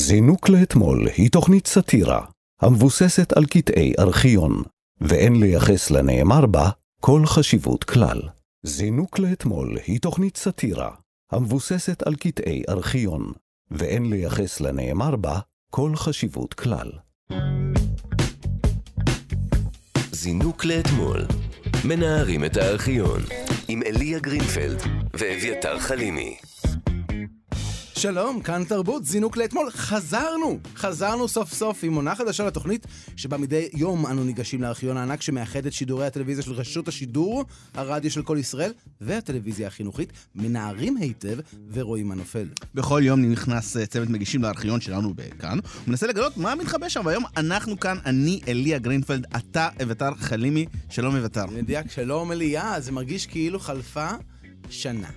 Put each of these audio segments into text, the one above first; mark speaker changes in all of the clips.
Speaker 1: זינוק לאתמול היא תוכנית סאטירה המבוססת על קטעי ארכיון, ואין לייחס לנאמר בה כל חשיבות כלל. זינוק לאתמול היא תוכנית סאטירה המבוססת על קטעי ארכיון, ואין לייחס לנאמר בה כל חשיבות כלל.
Speaker 2: זינוק לאתמול. מנערים את הארכיון. עם אליה גרינפלד ואביתר חלימי.
Speaker 3: שלום, כאן תרבות, זינוק לאתמול. חזרנו! חזרנו סוף סוף עם עונה חדשה לתוכנית, שבה מדי יום אנו ניגשים לארכיון הענק שמאחד את שידורי הטלוויזיה של רשות השידור, הרדיו של כל ישראל והטלוויזיה החינוכית, מנערים היטב ורואים מה נופל.
Speaker 4: בכל יום נכנס אה, צוות מגישים לארכיון שלנו בכאן, ומנסה לגלות מה מתחבא שם, והיום אנחנו כאן, אני אליה גרינפלד, אתה אביתר חלימי, שלום אביתר.
Speaker 3: מדויק, שלום אליה, זה מרגיש כאילו חלפה שנה.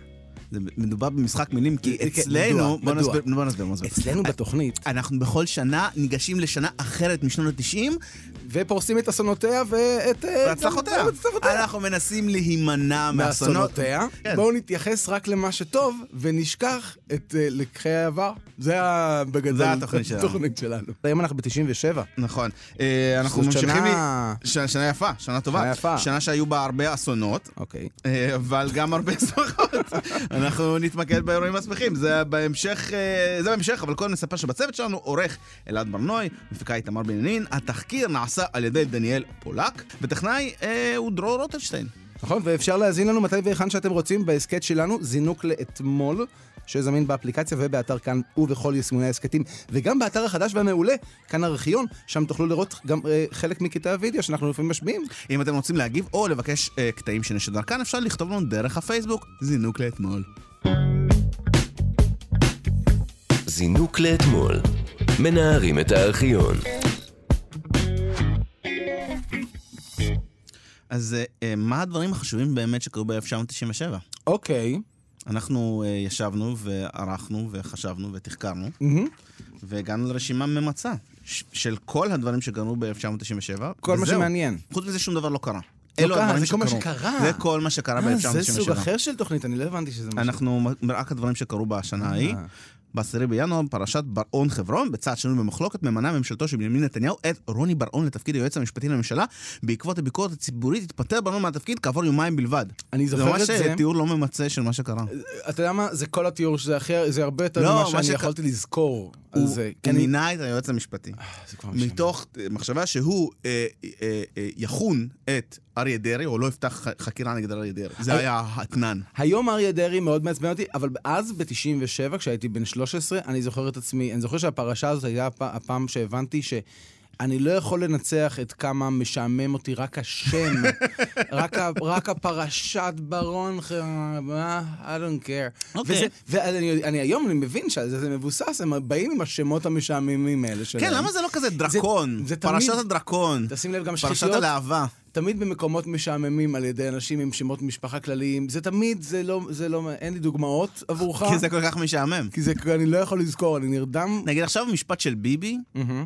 Speaker 4: זה מדובר במשחק מילים, כי
Speaker 3: כן, מדוע?
Speaker 4: אצלנו,
Speaker 3: מדוע?
Speaker 4: בוא נסביר, בוא נסביר, בוא נסביר.
Speaker 3: אצלנו בתוכנית,
Speaker 4: אנחנו בכל שנה ניגשים לשנה אחרת משנות ה-90,
Speaker 3: ופורסים את אסונותיה ואת... אה,
Speaker 4: והצלחותיה.
Speaker 3: כן, גם את הצלחותיה. אה.
Speaker 4: אנחנו מנסים להימנע מאסונות.
Speaker 3: מאסונותיה.
Speaker 4: כן.
Speaker 3: בואו נתייחס רק למה שטוב, ונשכח את אה, לקחי העבר. זה ה- בגדול
Speaker 4: זה התוכנית שלנו.
Speaker 3: התוכנית שלנו. היום אנחנו ב-97.
Speaker 4: נכון. אה, אנחנו
Speaker 3: זאת
Speaker 4: ממשיכים...
Speaker 3: שנה-
Speaker 4: לי- ש- שנה יפה, שנה טובה.
Speaker 3: שנה יפה.
Speaker 4: שנה שהיו בה הרבה אסונות.
Speaker 3: אוקיי.
Speaker 4: אה, אבל גם הרבה שמחות. אנחנו נתמקד באירועים השמחים, זה בהמשך, אה, זה בהמשך, אבל קודם נספר שבצוות שלנו עורך אלעד ברנוי, מפיקה איתמר בנימין, התחקיר נעשה על ידי דניאל פולק, וטכנאי אה, הוא דרור רוטלשטיין.
Speaker 3: נכון, ואפשר להזין לנו מתי והיכן שאתם רוצים בהסכת שלנו, זינוק לאתמול, שזמין באפליקציה ובאתר כאן ובכל יישומוני ההסכתים, וגם באתר החדש והמעולה, כאן ארכיון, שם תוכלו לראות גם אה, חלק מקטעי הוידאו שאנחנו לפעמים משמיעים.
Speaker 4: אם אתם רוצים להגיב או לבקש אה, קטעים שנשדר כאן, אפשר לכתוב לנו דרך הפייסבוק, זינוק לאתמול.
Speaker 2: זינוק לאתמול. מנערים את הארכיון.
Speaker 4: אז אה, אה, מה הדברים החשובים באמת שקרו ב-1997?
Speaker 3: אוקיי.
Speaker 4: אנחנו אה, ישבנו וערכנו וחשבנו ותחקרנו.
Speaker 3: מהמם.
Speaker 4: והגענו לרשימה ממצה ש- של כל הדברים שקרו ב-1997.
Speaker 3: כל מה שמעניין.
Speaker 4: חוץ מזה שום דבר לא קרה.
Speaker 3: לא
Speaker 4: אלו
Speaker 3: קרה,
Speaker 4: הדברים
Speaker 3: זה כל מה
Speaker 4: שקרו.
Speaker 3: שקרה.
Speaker 4: זה כל מה שקרה
Speaker 3: אה, זה סוג
Speaker 4: ב-1997.
Speaker 3: אחר של תוכנית, אני לא הבנתי שזה מה ש...
Speaker 4: אנחנו, מ- רק הדברים שקרו בשנה ההיא.
Speaker 3: אה.
Speaker 4: ב-10 בינואר, פרשת בר-און חברון, בצעד שנוי במחלוקת, ממנה ממשלתו של בנימין נתניהו את רוני בר-און לתפקיד היועץ המשפטי לממשלה. בעקבות הביקורת הציבורית התפטר בר-און מהתפקיד כעבור יומיים בלבד.
Speaker 3: אני זוכר את
Speaker 4: זה. ממש
Speaker 3: זה. אה,
Speaker 4: אה, תיאור לא ממצה של מה שקרה.
Speaker 3: אתה יודע מה? זה כל התיאור שזה הכי... זה הרבה יותר
Speaker 4: לא,
Speaker 3: ממה
Speaker 4: מה
Speaker 3: שאני
Speaker 4: שק-
Speaker 3: יכולתי לזכור. על
Speaker 4: הוא
Speaker 3: זה. כי
Speaker 4: הוא
Speaker 3: אני-
Speaker 4: מינה את היועץ המשפטי.
Speaker 3: אה, זה כבר משעמם.
Speaker 4: מתוך אה, מחשבה שהוא אה, אה, אה, יחון את אריה דרעי, או לא יפתח ח- חקירה נגד אריה דרעי. זה היה האתנן.
Speaker 3: היום אריה דרעי מאוד מעצבן אותי, אבל אז, ב-97, כשהייתי בן 13, אני זוכר את עצמי, אני זוכר שהפרשה הזאת הייתה הפ- הפעם שהבנתי ש... אני לא יכול לנצח את כמה משעמם אותי רק השם, רק, ה, רק הפרשת ברון, ח- מה? I don't care.
Speaker 4: אוקיי.
Speaker 3: וזה- ואני אני, היום אני מבין שזה זה מבוסס, הם באים עם השמות המשעממים האלה שלהם.
Speaker 4: כן, למה זה לא כזה דרקון?
Speaker 3: זה תמיד-
Speaker 4: פרשת הדרקון.
Speaker 3: תשים לב, גם
Speaker 4: פרשת
Speaker 3: שחיתויות.
Speaker 4: הלהבה.
Speaker 3: תמיד במקומות משעממים על ידי אנשים עם שמות משפחה כלליים. זה תמיד, זה לא, זה לא, אין לי דוגמאות עבורך.
Speaker 4: כי זה כל כך משעמם.
Speaker 3: כי זה, אני לא יכול לזכור, אני נרדם.
Speaker 4: נגיד עכשיו משפט של ביבי,
Speaker 3: מהמם.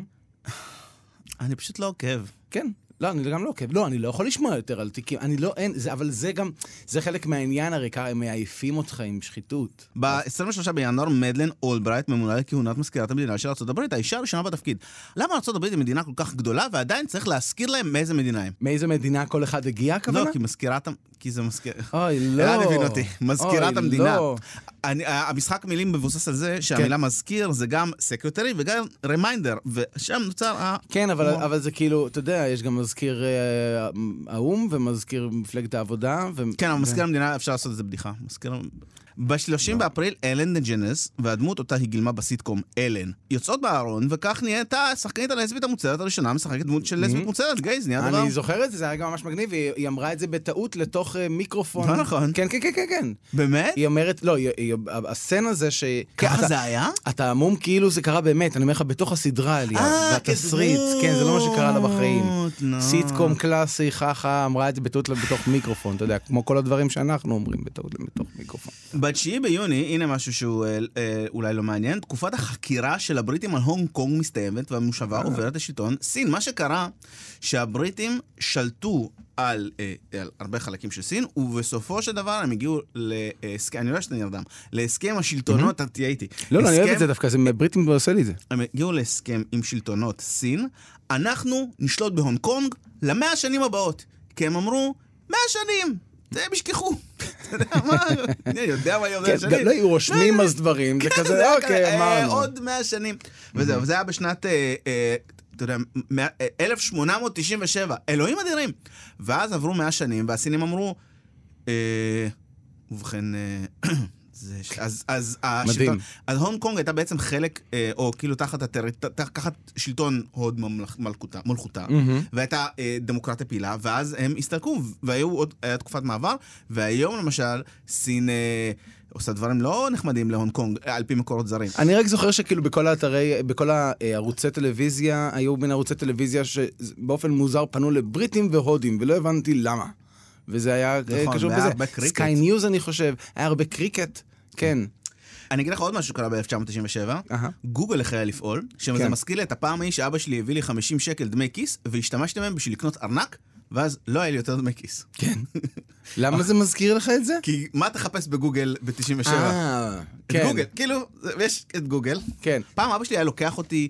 Speaker 4: אני פשוט לא עוקב.
Speaker 3: כן. לא, אני גם לא עוקב. לא, אני לא יכול לשמוע יותר על תיקים. אני לא, אין, זה, אבל זה גם, זה חלק מהעניין, הרי ככה הם מעייפים אותך עם שחיתות.
Speaker 4: ב-23 בינואר מדלן אולברייט ממונה לכהונת מזכירת המדינה של ארה"ב, האישה הראשונה בתפקיד. למה ארה"ב היא מדינה כל כך גדולה ועדיין צריך להזכיר להם מאיזה מדינה הם?
Speaker 3: מאיזה מדינה כל אחד הגיע, הכוונה?
Speaker 4: לא, כי מזכירת... המ- כי זה מזכיר...
Speaker 3: אוי, לא.
Speaker 4: אלעד הבין אותי, מזכירת
Speaker 3: אוי,
Speaker 4: המדינה.
Speaker 3: לא. כן.
Speaker 4: אני- ה- המשחק מילים מבוסס על זה שהמילה מזכיר זה גם סקרטרי וגם רמיינדר, ושם נוצר ה...
Speaker 3: כן, אבל,
Speaker 4: וואו.
Speaker 3: אבל זה כאילו, אתה יודע, יש גם מזכיר אה, האו"ם ומזכיר מפלגת העבודה. ו...
Speaker 4: כן, אבל מזכיר המדינה אפשר לעשות את זה בדיחה. מזכיר...
Speaker 3: לא.
Speaker 4: ב-30 באפריל אלן דג'נס, והדמות אותה היא גילמה בסיטקום אלן, יוצאות בארון, וכך נהייתה השחקנית הלסבית המוצהרת הראשונה, משחקת דמות של לסבית מוצהרת, גייז, נהיה דבר.
Speaker 3: Mm-hmm. אני זוכר את זה, זה היה גם ממש מגניב, היא היא אמרה את זה בטעות לתוך אה, מיקרופון.
Speaker 4: לא נכון.
Speaker 3: כן, כן, כן, כן, כן.
Speaker 4: באמת?
Speaker 3: היא אומרת, לא, היא- היא- הסצנה זה ש...
Speaker 4: ככה
Speaker 3: אתה-
Speaker 4: זה היה?
Speaker 3: אתה המום כאילו זה קרה באמת, אני אומר לך, בתוך הסדרה, אליה,
Speaker 4: אה,
Speaker 3: בתסריט, כן, זה לא מה שקרה לה בחיים.
Speaker 4: כדמות, לא.
Speaker 3: סיטקום קלאסי, חכה, אמרה את זה בטעות לתוך מיקרופון, אתה יודע, כמו כל הדברים שאנחנו אומרים בטעות לתוך מיקרופון.
Speaker 4: ב-9 ביוני, הנה משהו שהוא אה, אה, אולי לא מעניין, תקופת החקירה של הבריטים על הונג קונג מסתיימת והמושבה
Speaker 3: אה.
Speaker 4: עוברת לשלטון סין. מה שקרה, שהבריטים שלטו על, אה, על הרבה חלקים של סין, ובסופו של דבר הם הגיעו להסכם, אני רואה שאתה נרדם, להסכם השלטונות, אתה תהיה איתי.
Speaker 3: לא, לא, אני אוהב
Speaker 4: הסכם-
Speaker 3: את זה דווקא, זה בריטים עושה לי את זה.
Speaker 4: הם הגיעו להסכם עם שלטונות סין, אנחנו נשלוט בהונג קונג למאה השנים הבאות. כי הם אמרו, מאה שנים, זה הם ישכחו. אתה יודע מה, אני יודע מה יהיה עוד
Speaker 3: כן,
Speaker 4: מאה שנים.
Speaker 3: גם לא היו רושמים
Speaker 4: מאה
Speaker 3: אז דברים, זה
Speaker 4: כן,
Speaker 3: כזה,
Speaker 4: היה
Speaker 3: אוקיי,
Speaker 4: כזה, אה,
Speaker 3: אמרנו.
Speaker 4: עוד מאה שנים. וזהו, וזה היה בשנת, אה, אה, אתה יודע, מאה- אה, 1897. אלוהים אדירים. ואז עברו מאה שנים, והסינים אמרו, אה, ובכן, אה, זה... ש- אז, אז
Speaker 3: אה,
Speaker 4: השלטון, אז הונג קונג הייתה בעצם חלק, אה, או כאילו תחת, הטר... ת- תחת שלטון הוד ממלכ... מלכותה, מלכותה
Speaker 3: מהמם.
Speaker 4: והייתה אה, דמוקרטיה פעילה, ואז הם הסתלקו, והיו עוד, היה תקופת מעבר, והיום למשל, סין אה, עושה דברים לא נחמדים להונג קונג, אה, על פי מקורות זרים.
Speaker 3: אני רק זוכר שכאילו בכל האתרי, בכל הערוצי טלוויזיה, היו בין ערוצי טלוויזיה שבאופן מוזר פנו לבריטים והודים, ולא הבנתי למה. וזה היה אה,
Speaker 4: נכון,
Speaker 3: קשור
Speaker 4: והיה
Speaker 3: בזה.
Speaker 4: הרבה קריקט.
Speaker 3: סקיי ניוז אני חושב, היה הרבה קריקט, כן.
Speaker 4: אני אגיד לך עוד משהו שקרה ב-1997,
Speaker 3: אהה.
Speaker 4: גוגל החלה לפעול, שזה
Speaker 3: כן.
Speaker 4: מזכיר לי את הפעם ההיא שאבא שלי הביא לי 50 שקל דמי כיס, והשתמשתי בהם בשביל לקנות ארנק, ואז לא היה לי יותר דמי כיס.
Speaker 3: כן. למה זה מזכיר לך את זה?
Speaker 4: כי מה תחפש בגוגל ב-97?
Speaker 3: אה,
Speaker 4: כן.
Speaker 3: כן,
Speaker 4: את גוגל, כאילו, זה- יש את גוגל.
Speaker 3: כן.
Speaker 4: פעם אבא שלי היה לוקח אותי,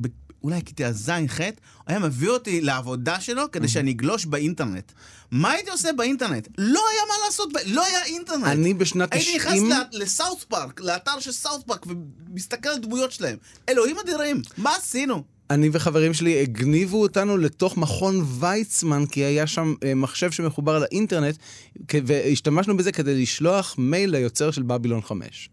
Speaker 4: ב- אולי כיתה ז'-ח', היה מביא אותי לעבודה שלו כדי שאני אגלוש באינטרנט. מה הייתי עושה באינטרנט? לא היה מה לעשות, ב- לא היה אינטרנט.
Speaker 3: אני בשנת
Speaker 4: הייתי
Speaker 3: 90...
Speaker 4: נכנס ל- לסאוט פארק, לאתר של סאוט פארק, ומסתכל על דמויות שלהם. אלוהים אדירים, מה עשינו?
Speaker 3: אני וחברים שלי הגניבו אותנו לתוך מכון ויצמן, כי היה שם אה, מחשב שמחובר לאינטרנט, כ- והשתמשנו בזה כדי לשלוח מייל ליוצר של בבילון 5.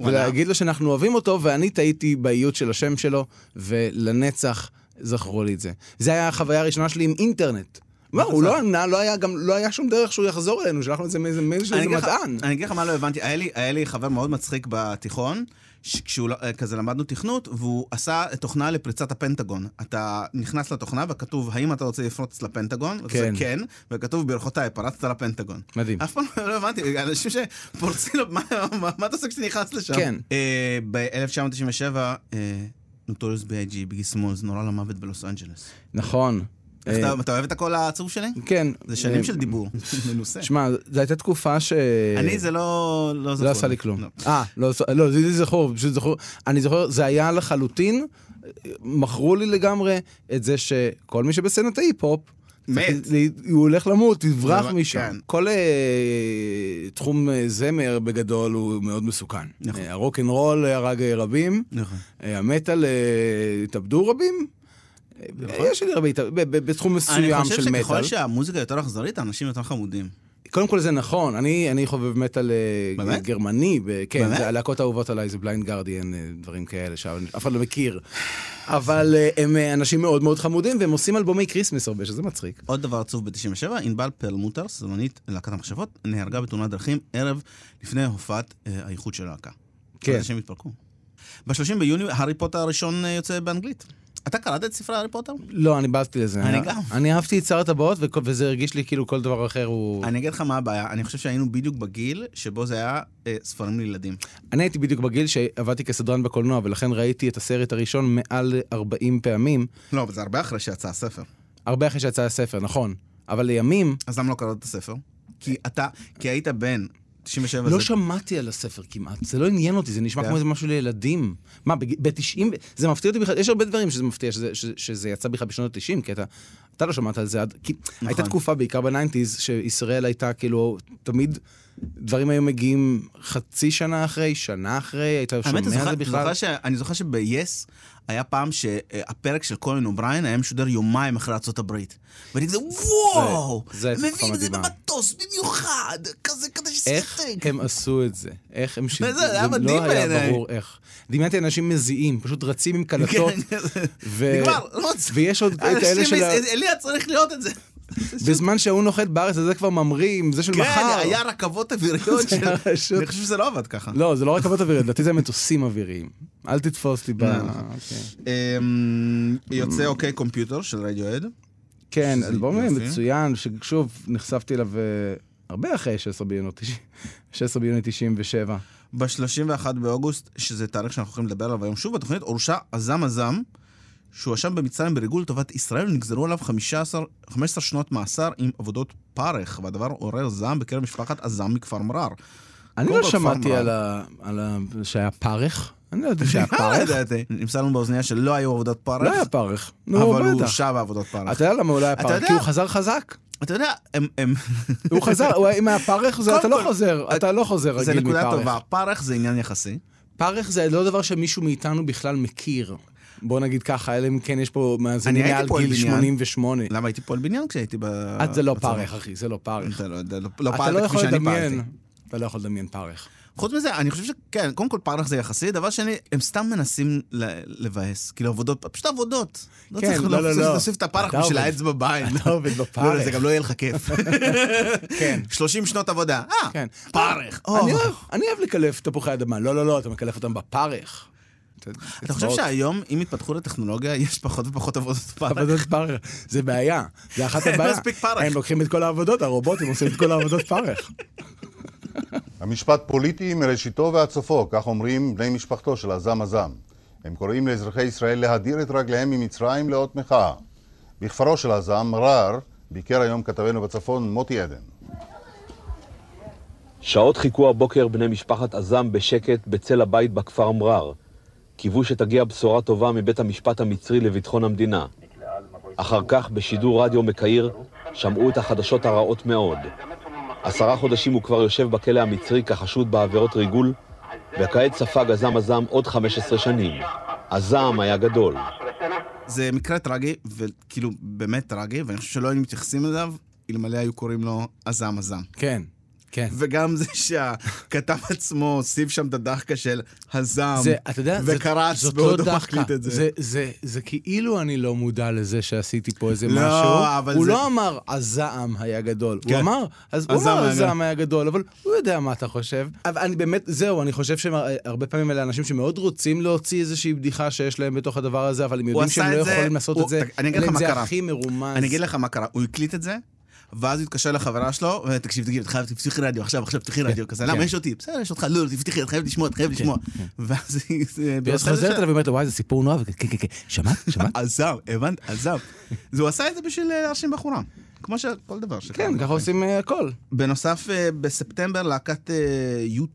Speaker 3: ולהגיד לו שאנחנו אוהבים אותו, ואני טעיתי באיות של השם שלו, ולנצח זכרו לי את זה. זה היה החוויה הראשונה שלי עם אינטרנט. מה, הוא לא ענה, לא היה גם, לא היה שום דרך שהוא יחזור אלינו, שלחנו את זה מאיזה מייל של
Speaker 4: אני
Speaker 3: איזה
Speaker 4: אגיד לך-
Speaker 3: מדען.
Speaker 4: אני אגיד לך מה לא הבנתי, היה לי, היה לי חבר מאוד מצחיק בתיכון, כשהוא לא- כזה למדנו תכנות, והוא עשה תוכנה לפריצת הפנטגון. אתה נכנס לתוכנה וכתוב, האם אתה רוצה לפרוץ לפנטגון? ואתה עושה
Speaker 3: כן.
Speaker 4: כן, וכתוב, ברכותיי, פרצת לפנטגון.
Speaker 3: מדהים.
Speaker 4: אף פעם לא הבנתי, אנשים שפורצים, לו- מה, מה, מה אתה עושה כשנכנס לשם?
Speaker 3: כן.
Speaker 4: אה, ב-1997, אה, נוטוריוס בי.איי.גי, ביגי סמולס, נורא למוות בלוס אנג'לס.
Speaker 3: נכון.
Speaker 4: איך
Speaker 3: אה,
Speaker 4: אתה- אתה אוהב את הקול העצוב שלי?
Speaker 3: כן.
Speaker 4: זה שנים
Speaker 3: אה,
Speaker 4: של דיבור, מנוסה.
Speaker 3: שמע, זו הייתה תקופה ש...
Speaker 4: אני זה לא... לא זכור
Speaker 3: לא עשה לי כלום.
Speaker 4: לא.
Speaker 3: אה, לא, עשה- לא, זה לי זכור, פשוט זכור. אני זוכר, זה היה לחלוטין, מכרו לי לגמרי את זה שכל מי שבסצנת ההיפ-הופ,
Speaker 4: מת.
Speaker 3: צריך ל- הוא הולך למות, תברח
Speaker 4: זה-
Speaker 3: משם.
Speaker 4: כן.
Speaker 3: כל אה, תחום אה, זמר בגדול הוא מאוד מסוכן.
Speaker 4: נכון.
Speaker 3: אה, הרוקנרול הרג אה, רבים,
Speaker 4: נכון.
Speaker 3: אה, המטאל אה, התאבדו רבים. אה, יש לי הרבה, התאב- ב- ב- בתחום מסוים
Speaker 4: נכון. אני
Speaker 3: של
Speaker 4: חושב
Speaker 3: מטאל.
Speaker 4: שככל שהמוזיקה יותר אכזרית, האנשים יותר חמודים.
Speaker 3: קודם כל זה נכון, אני, אני חובב מטאל אה,
Speaker 4: באמת?
Speaker 3: גרמני, ב- כן,
Speaker 4: באמת?
Speaker 3: זה הלהקות האהובות עליי זה בליינד גרדיאן, אה, דברים כאלה שאף אחד לא מכיר. אבל אה, הם אה, אנשים מאוד מאוד חמודים, והם עושים אלבומי כריסמס הרבה, שזה מצחיק.
Speaker 4: עוד דבר עצוב ב-97, ענבל פרלמוטר, סמנית להקת המחשבות, נהרגה בתאונת דרכים ערב לפני הופעת אה, האיחוד של הלהקה.
Speaker 3: כן.
Speaker 4: אנשים התפרקו. ב-30 ביוני, הארי פוטר הראשון אה, יוצא באנגלית. אתה קראת את ספרי הארי פוטר?
Speaker 3: לא, אני באסתי לזה.
Speaker 4: אני גם.
Speaker 3: אני אהבתי את שר הטבעות, וכ- וזה הרגיש לי כאילו כל דבר אחר הוא...
Speaker 4: אני אגיד לך מה הבעיה, אני חושב שהיינו בדיוק בגיל שבו זה היה אה, ספרים לילדים.
Speaker 3: אני הייתי בדיוק בגיל שעבדתי כסדרן בקולנוע, ולכן ראיתי את הסרט הראשון מעל 40 פעמים,
Speaker 4: לא, אבל זה הרבה אחרי שיצא הספר.
Speaker 3: הרבה אחרי שיצא הספר, נכון. אבל לימים,
Speaker 4: אז למה לא קראת את הספר? כי אתה, כי היית בן 97
Speaker 3: לא
Speaker 4: זה-
Speaker 3: שמעתי על הספר כמעט, זה לא עניין אותי, זה נשמע
Speaker 4: כן.
Speaker 3: כמו איזה משהו לילדים. מה, ב-90, זה מפתיע אותי בכלל, יש הרבה דברים שזה מפתיע, שזה, שזה, שזה יצא בכלל בשנות ה-90, כי אתה, אתה לא שמעת על זה עד... כי נכון. הייתה תקופה, בעיקר בניינטיז, שישראל הייתה כאילו, תמיד דברים היו מגיעים חצי שנה אחרי, שנה אחרי, היית שומע
Speaker 4: האמת, אני
Speaker 3: על
Speaker 4: זוכר-
Speaker 3: זה בכלל.
Speaker 4: זוכר ש- אני זוכר שב-yes היה פעם שהפרק של קולין אובריין היה משודר יומיים אחרי ארצות הברית. ואני כזה, וואו!
Speaker 3: זה הייתה תקופה
Speaker 4: מביאים את זה
Speaker 3: מדהימה.
Speaker 4: במטוס במיוחד, כזה כדי
Speaker 3: איך
Speaker 4: שיסתק.
Speaker 3: הם עשו את זה? איך הם שידעו?
Speaker 4: זה היה מדהים
Speaker 3: לא היה
Speaker 4: בעיניי. כן.
Speaker 3: ברור איך. דמיינתי אנשים מזיעים, פשוט רצים עם קלטות. ו-
Speaker 4: נגמר, לא מצליח.
Speaker 3: ויש עוד את האלה של... ה- כן,
Speaker 4: אליה צריך לראות את זה.
Speaker 3: בזמן שההוא נוחת בארץ, אז זה כבר ממרים, זה של
Speaker 4: כן,
Speaker 3: מחר.
Speaker 4: היה רכבות
Speaker 3: זה
Speaker 4: אוויריות של...
Speaker 3: היה פשוט-
Speaker 4: אני חושב שזה לא עבד ככה.
Speaker 3: לא, זה לא רכבות אוויריות, לדעתי זה מטוסים אוויריים. אל תתפוס אותי ב...
Speaker 4: אה,
Speaker 3: אוקיי.
Speaker 4: אמ, יוצא אוקיי קומפיוטר של רדיואד.
Speaker 3: כן,
Speaker 4: שזה
Speaker 3: אלבום
Speaker 4: יופי.
Speaker 3: מצוין, ששוב, נחשפתי אליו אה, הרבה אחרי 16 ביוני 90 16 ביוני 97.
Speaker 4: ב-31 באוגוסט, שזה תאריך שאנחנו הולכים לדבר עליו היום שוב, בתוכנית הורשע עזם עזם, שהואשם במצרים בריגול לטובת ישראל, ונגזרו עליו 15, 15 שנות מאסר עם עבודות פרך, והדבר עורר זעם בקרב משפחת עזם מכפר מרר.
Speaker 3: אני
Speaker 4: קודם
Speaker 3: לא
Speaker 4: כל,
Speaker 3: שמעתי
Speaker 4: פארמה.
Speaker 3: על ה... על ה... שהיה פרך. אני לא יודע שהיה
Speaker 4: לא
Speaker 3: פרך.
Speaker 4: ידעתי. נמסר לנו באוזניה שלא היו עבודות פרך,
Speaker 3: לא היה פרך. נו,
Speaker 4: אבל הוא
Speaker 3: בטח.
Speaker 4: הורשע בעבודות פרך.
Speaker 3: אתה יודע למה הוא לא היה
Speaker 4: אתה
Speaker 3: פרך?
Speaker 4: יודע?
Speaker 3: כי הוא חזר חזק.
Speaker 4: אתה יודע, הם- הם-
Speaker 3: הוא חזר, הוא היה- אם היה פרך, זה
Speaker 4: קודם
Speaker 3: אתה לא
Speaker 4: כל,
Speaker 3: חוזר. אתה לא חוזר
Speaker 4: זה
Speaker 3: רגיל מפרך.
Speaker 4: נקודה טובה. פרך זה עניין יחסי.
Speaker 3: פרך זה לא דבר שמישהו מאיתנו בכלל מכיר. בוא נגיד ככה, אלא אם כן יש פה מאזינים
Speaker 4: אני הייתי
Speaker 3: מעל
Speaker 4: פועל
Speaker 3: גיל
Speaker 4: בניין.
Speaker 3: 88.
Speaker 4: למה הייתי פועל בניין כשהייתי ב...
Speaker 3: את זה לא
Speaker 4: בצבא?
Speaker 3: פרך, אחי, זה לא פרך.
Speaker 4: אתה לא יודע, לא-
Speaker 3: אתה
Speaker 4: לא
Speaker 3: לא
Speaker 4: פעלתי כפי
Speaker 3: יכול
Speaker 4: שאני
Speaker 3: לדמיין.
Speaker 4: פעלתי.
Speaker 3: אתה לא יכול לדמיין פרך.
Speaker 4: חוץ מזה, אני חושב שכן, קודם כל פרך זה יחסי, דבר שני, הם סתם מנסים ל- לבאס, כאילו עבודות, פשוט עבודות. לא
Speaker 3: כן,
Speaker 4: צריך
Speaker 3: לא,
Speaker 4: לא
Speaker 3: לא,
Speaker 4: צריך
Speaker 3: לא.
Speaker 4: להוסיף את הפרך
Speaker 3: אתה
Speaker 4: בשביל
Speaker 3: עובד.
Speaker 4: העץ בבית.
Speaker 3: אתה עובד בפרך.
Speaker 4: לא, לא, זה גם לא יהיה לך כיף.
Speaker 3: כן.
Speaker 4: 30 שנות עבודה, אה,
Speaker 3: כן.
Speaker 4: פרך.
Speaker 3: אני
Speaker 4: או.
Speaker 3: אוהב- אני אוהב לקלף תפוחי אדמה. לא, לא, לא, אתה מקלף אותם בפרך.
Speaker 4: אתה חושב שהיום, אם יתפתחו לטכנולוגיה, יש פחות ופחות עבודות פרך?
Speaker 3: עבודות פרך, זה בעיה, זה אחת
Speaker 4: אין
Speaker 3: הבעיה.
Speaker 4: מספיק פרך.
Speaker 3: הם לוקחים את כל העבודות, הרובוטים עושים את כל העבודות פרך.
Speaker 5: המשפט פוליטי מראשיתו ועד סופו, כך אומרים בני משפחתו של עזם עזם. הם קוראים לאזרחי ישראל להדיר את רגליהם ממצרים לאות מחאה. בכפרו של עזם, מרר, ביקר היום כתבנו בצפון מוטי עדן.
Speaker 6: שעות חיכו הבוקר בני משפחת עזם בשקט בצל הבית בכפר מרר. קיוו שתגיע בשורה טובה מבית המשפט המצרי לביטחון המדינה. אחר כך, בשידור רדיו מקהיר, שמעו את החדשות הרעות מאוד. עשרה חודשים הוא כבר יושב בכלא המצרי כחשוד בעבירות ריגול, וכעת ספג עזם עזם עוד 15 שנים. הזעם היה גדול.
Speaker 4: זה מקרה טרגי, וכאילו באמת טרגי, ואני חושב שלא היינו מתייחסים אליו, אלמלא היו קוראים לו עזם עזם.
Speaker 3: כן, כן.
Speaker 4: וגם זה שהכתב עצמו הוסיף שם את הדחקה של הזעם,
Speaker 3: זה, אתה יודע, זה-
Speaker 4: וקרץ
Speaker 3: זאת
Speaker 4: בעוד
Speaker 3: לא
Speaker 4: הוא
Speaker 3: דחקה.
Speaker 4: מקליט את זה.
Speaker 3: זה, זה, זה כאילו אני לא מודע לזה שעשיתי פה איזה
Speaker 4: לא,
Speaker 3: משהו.
Speaker 4: אבל
Speaker 3: הוא
Speaker 4: זה-
Speaker 3: לא אמר, הזעם היה גדול. הוא
Speaker 4: כן.
Speaker 3: אמר, אז הוא
Speaker 4: הזעם
Speaker 3: אמר,
Speaker 4: היה
Speaker 3: הזעם היה גדול, אבל הוא יודע מה אתה חושב. אבל אני באמת, זהו, אני חושב שהרבה פעמים אלה אנשים שמאוד רוצים להוציא איזושהי בדיחה שיש להם בתוך הדבר הזה, אבל הם יודעים
Speaker 4: עשה
Speaker 3: שהם לא
Speaker 4: את זה-
Speaker 3: יכולים לעשות
Speaker 4: הוא-
Speaker 3: את זה.
Speaker 4: תק- אני אגיד
Speaker 3: אלא
Speaker 4: לך
Speaker 3: אם
Speaker 4: מה
Speaker 3: זה
Speaker 4: קרה.
Speaker 3: הכי מרומז.
Speaker 4: אני אגיד לך מה קרה, הוא הקליט את זה, ואז הוא התקשר לחברה שלו, ואומר, תקשיב, תגיד, חייב, תפתחי רדיו עכשיו, עכשיו תפתחי רדיו כזה,
Speaker 3: כן.
Speaker 4: למה יש אותי? בסדר, יש אותך, לא, לא, תפתחי, את חייבת לשמוע, את חייבת לשמוע. ואז היא... אה, זה-
Speaker 3: ואז
Speaker 4: בנושא הזה
Speaker 3: חוזרת
Speaker 4: של-
Speaker 3: אליו ואומרת לו, וואי, זה סיפור נורא, וכן, כן, כן, כן, שמעת? שמעת?
Speaker 4: עזב, הבנת, עזב. אז הוא עשה את זה בשביל אה, להרשים בחורה. כמו שכל דבר שקרה.
Speaker 3: כן, ככה עושים אה, הכל.
Speaker 4: בנוסף, אה, בספטמבר להקת אה,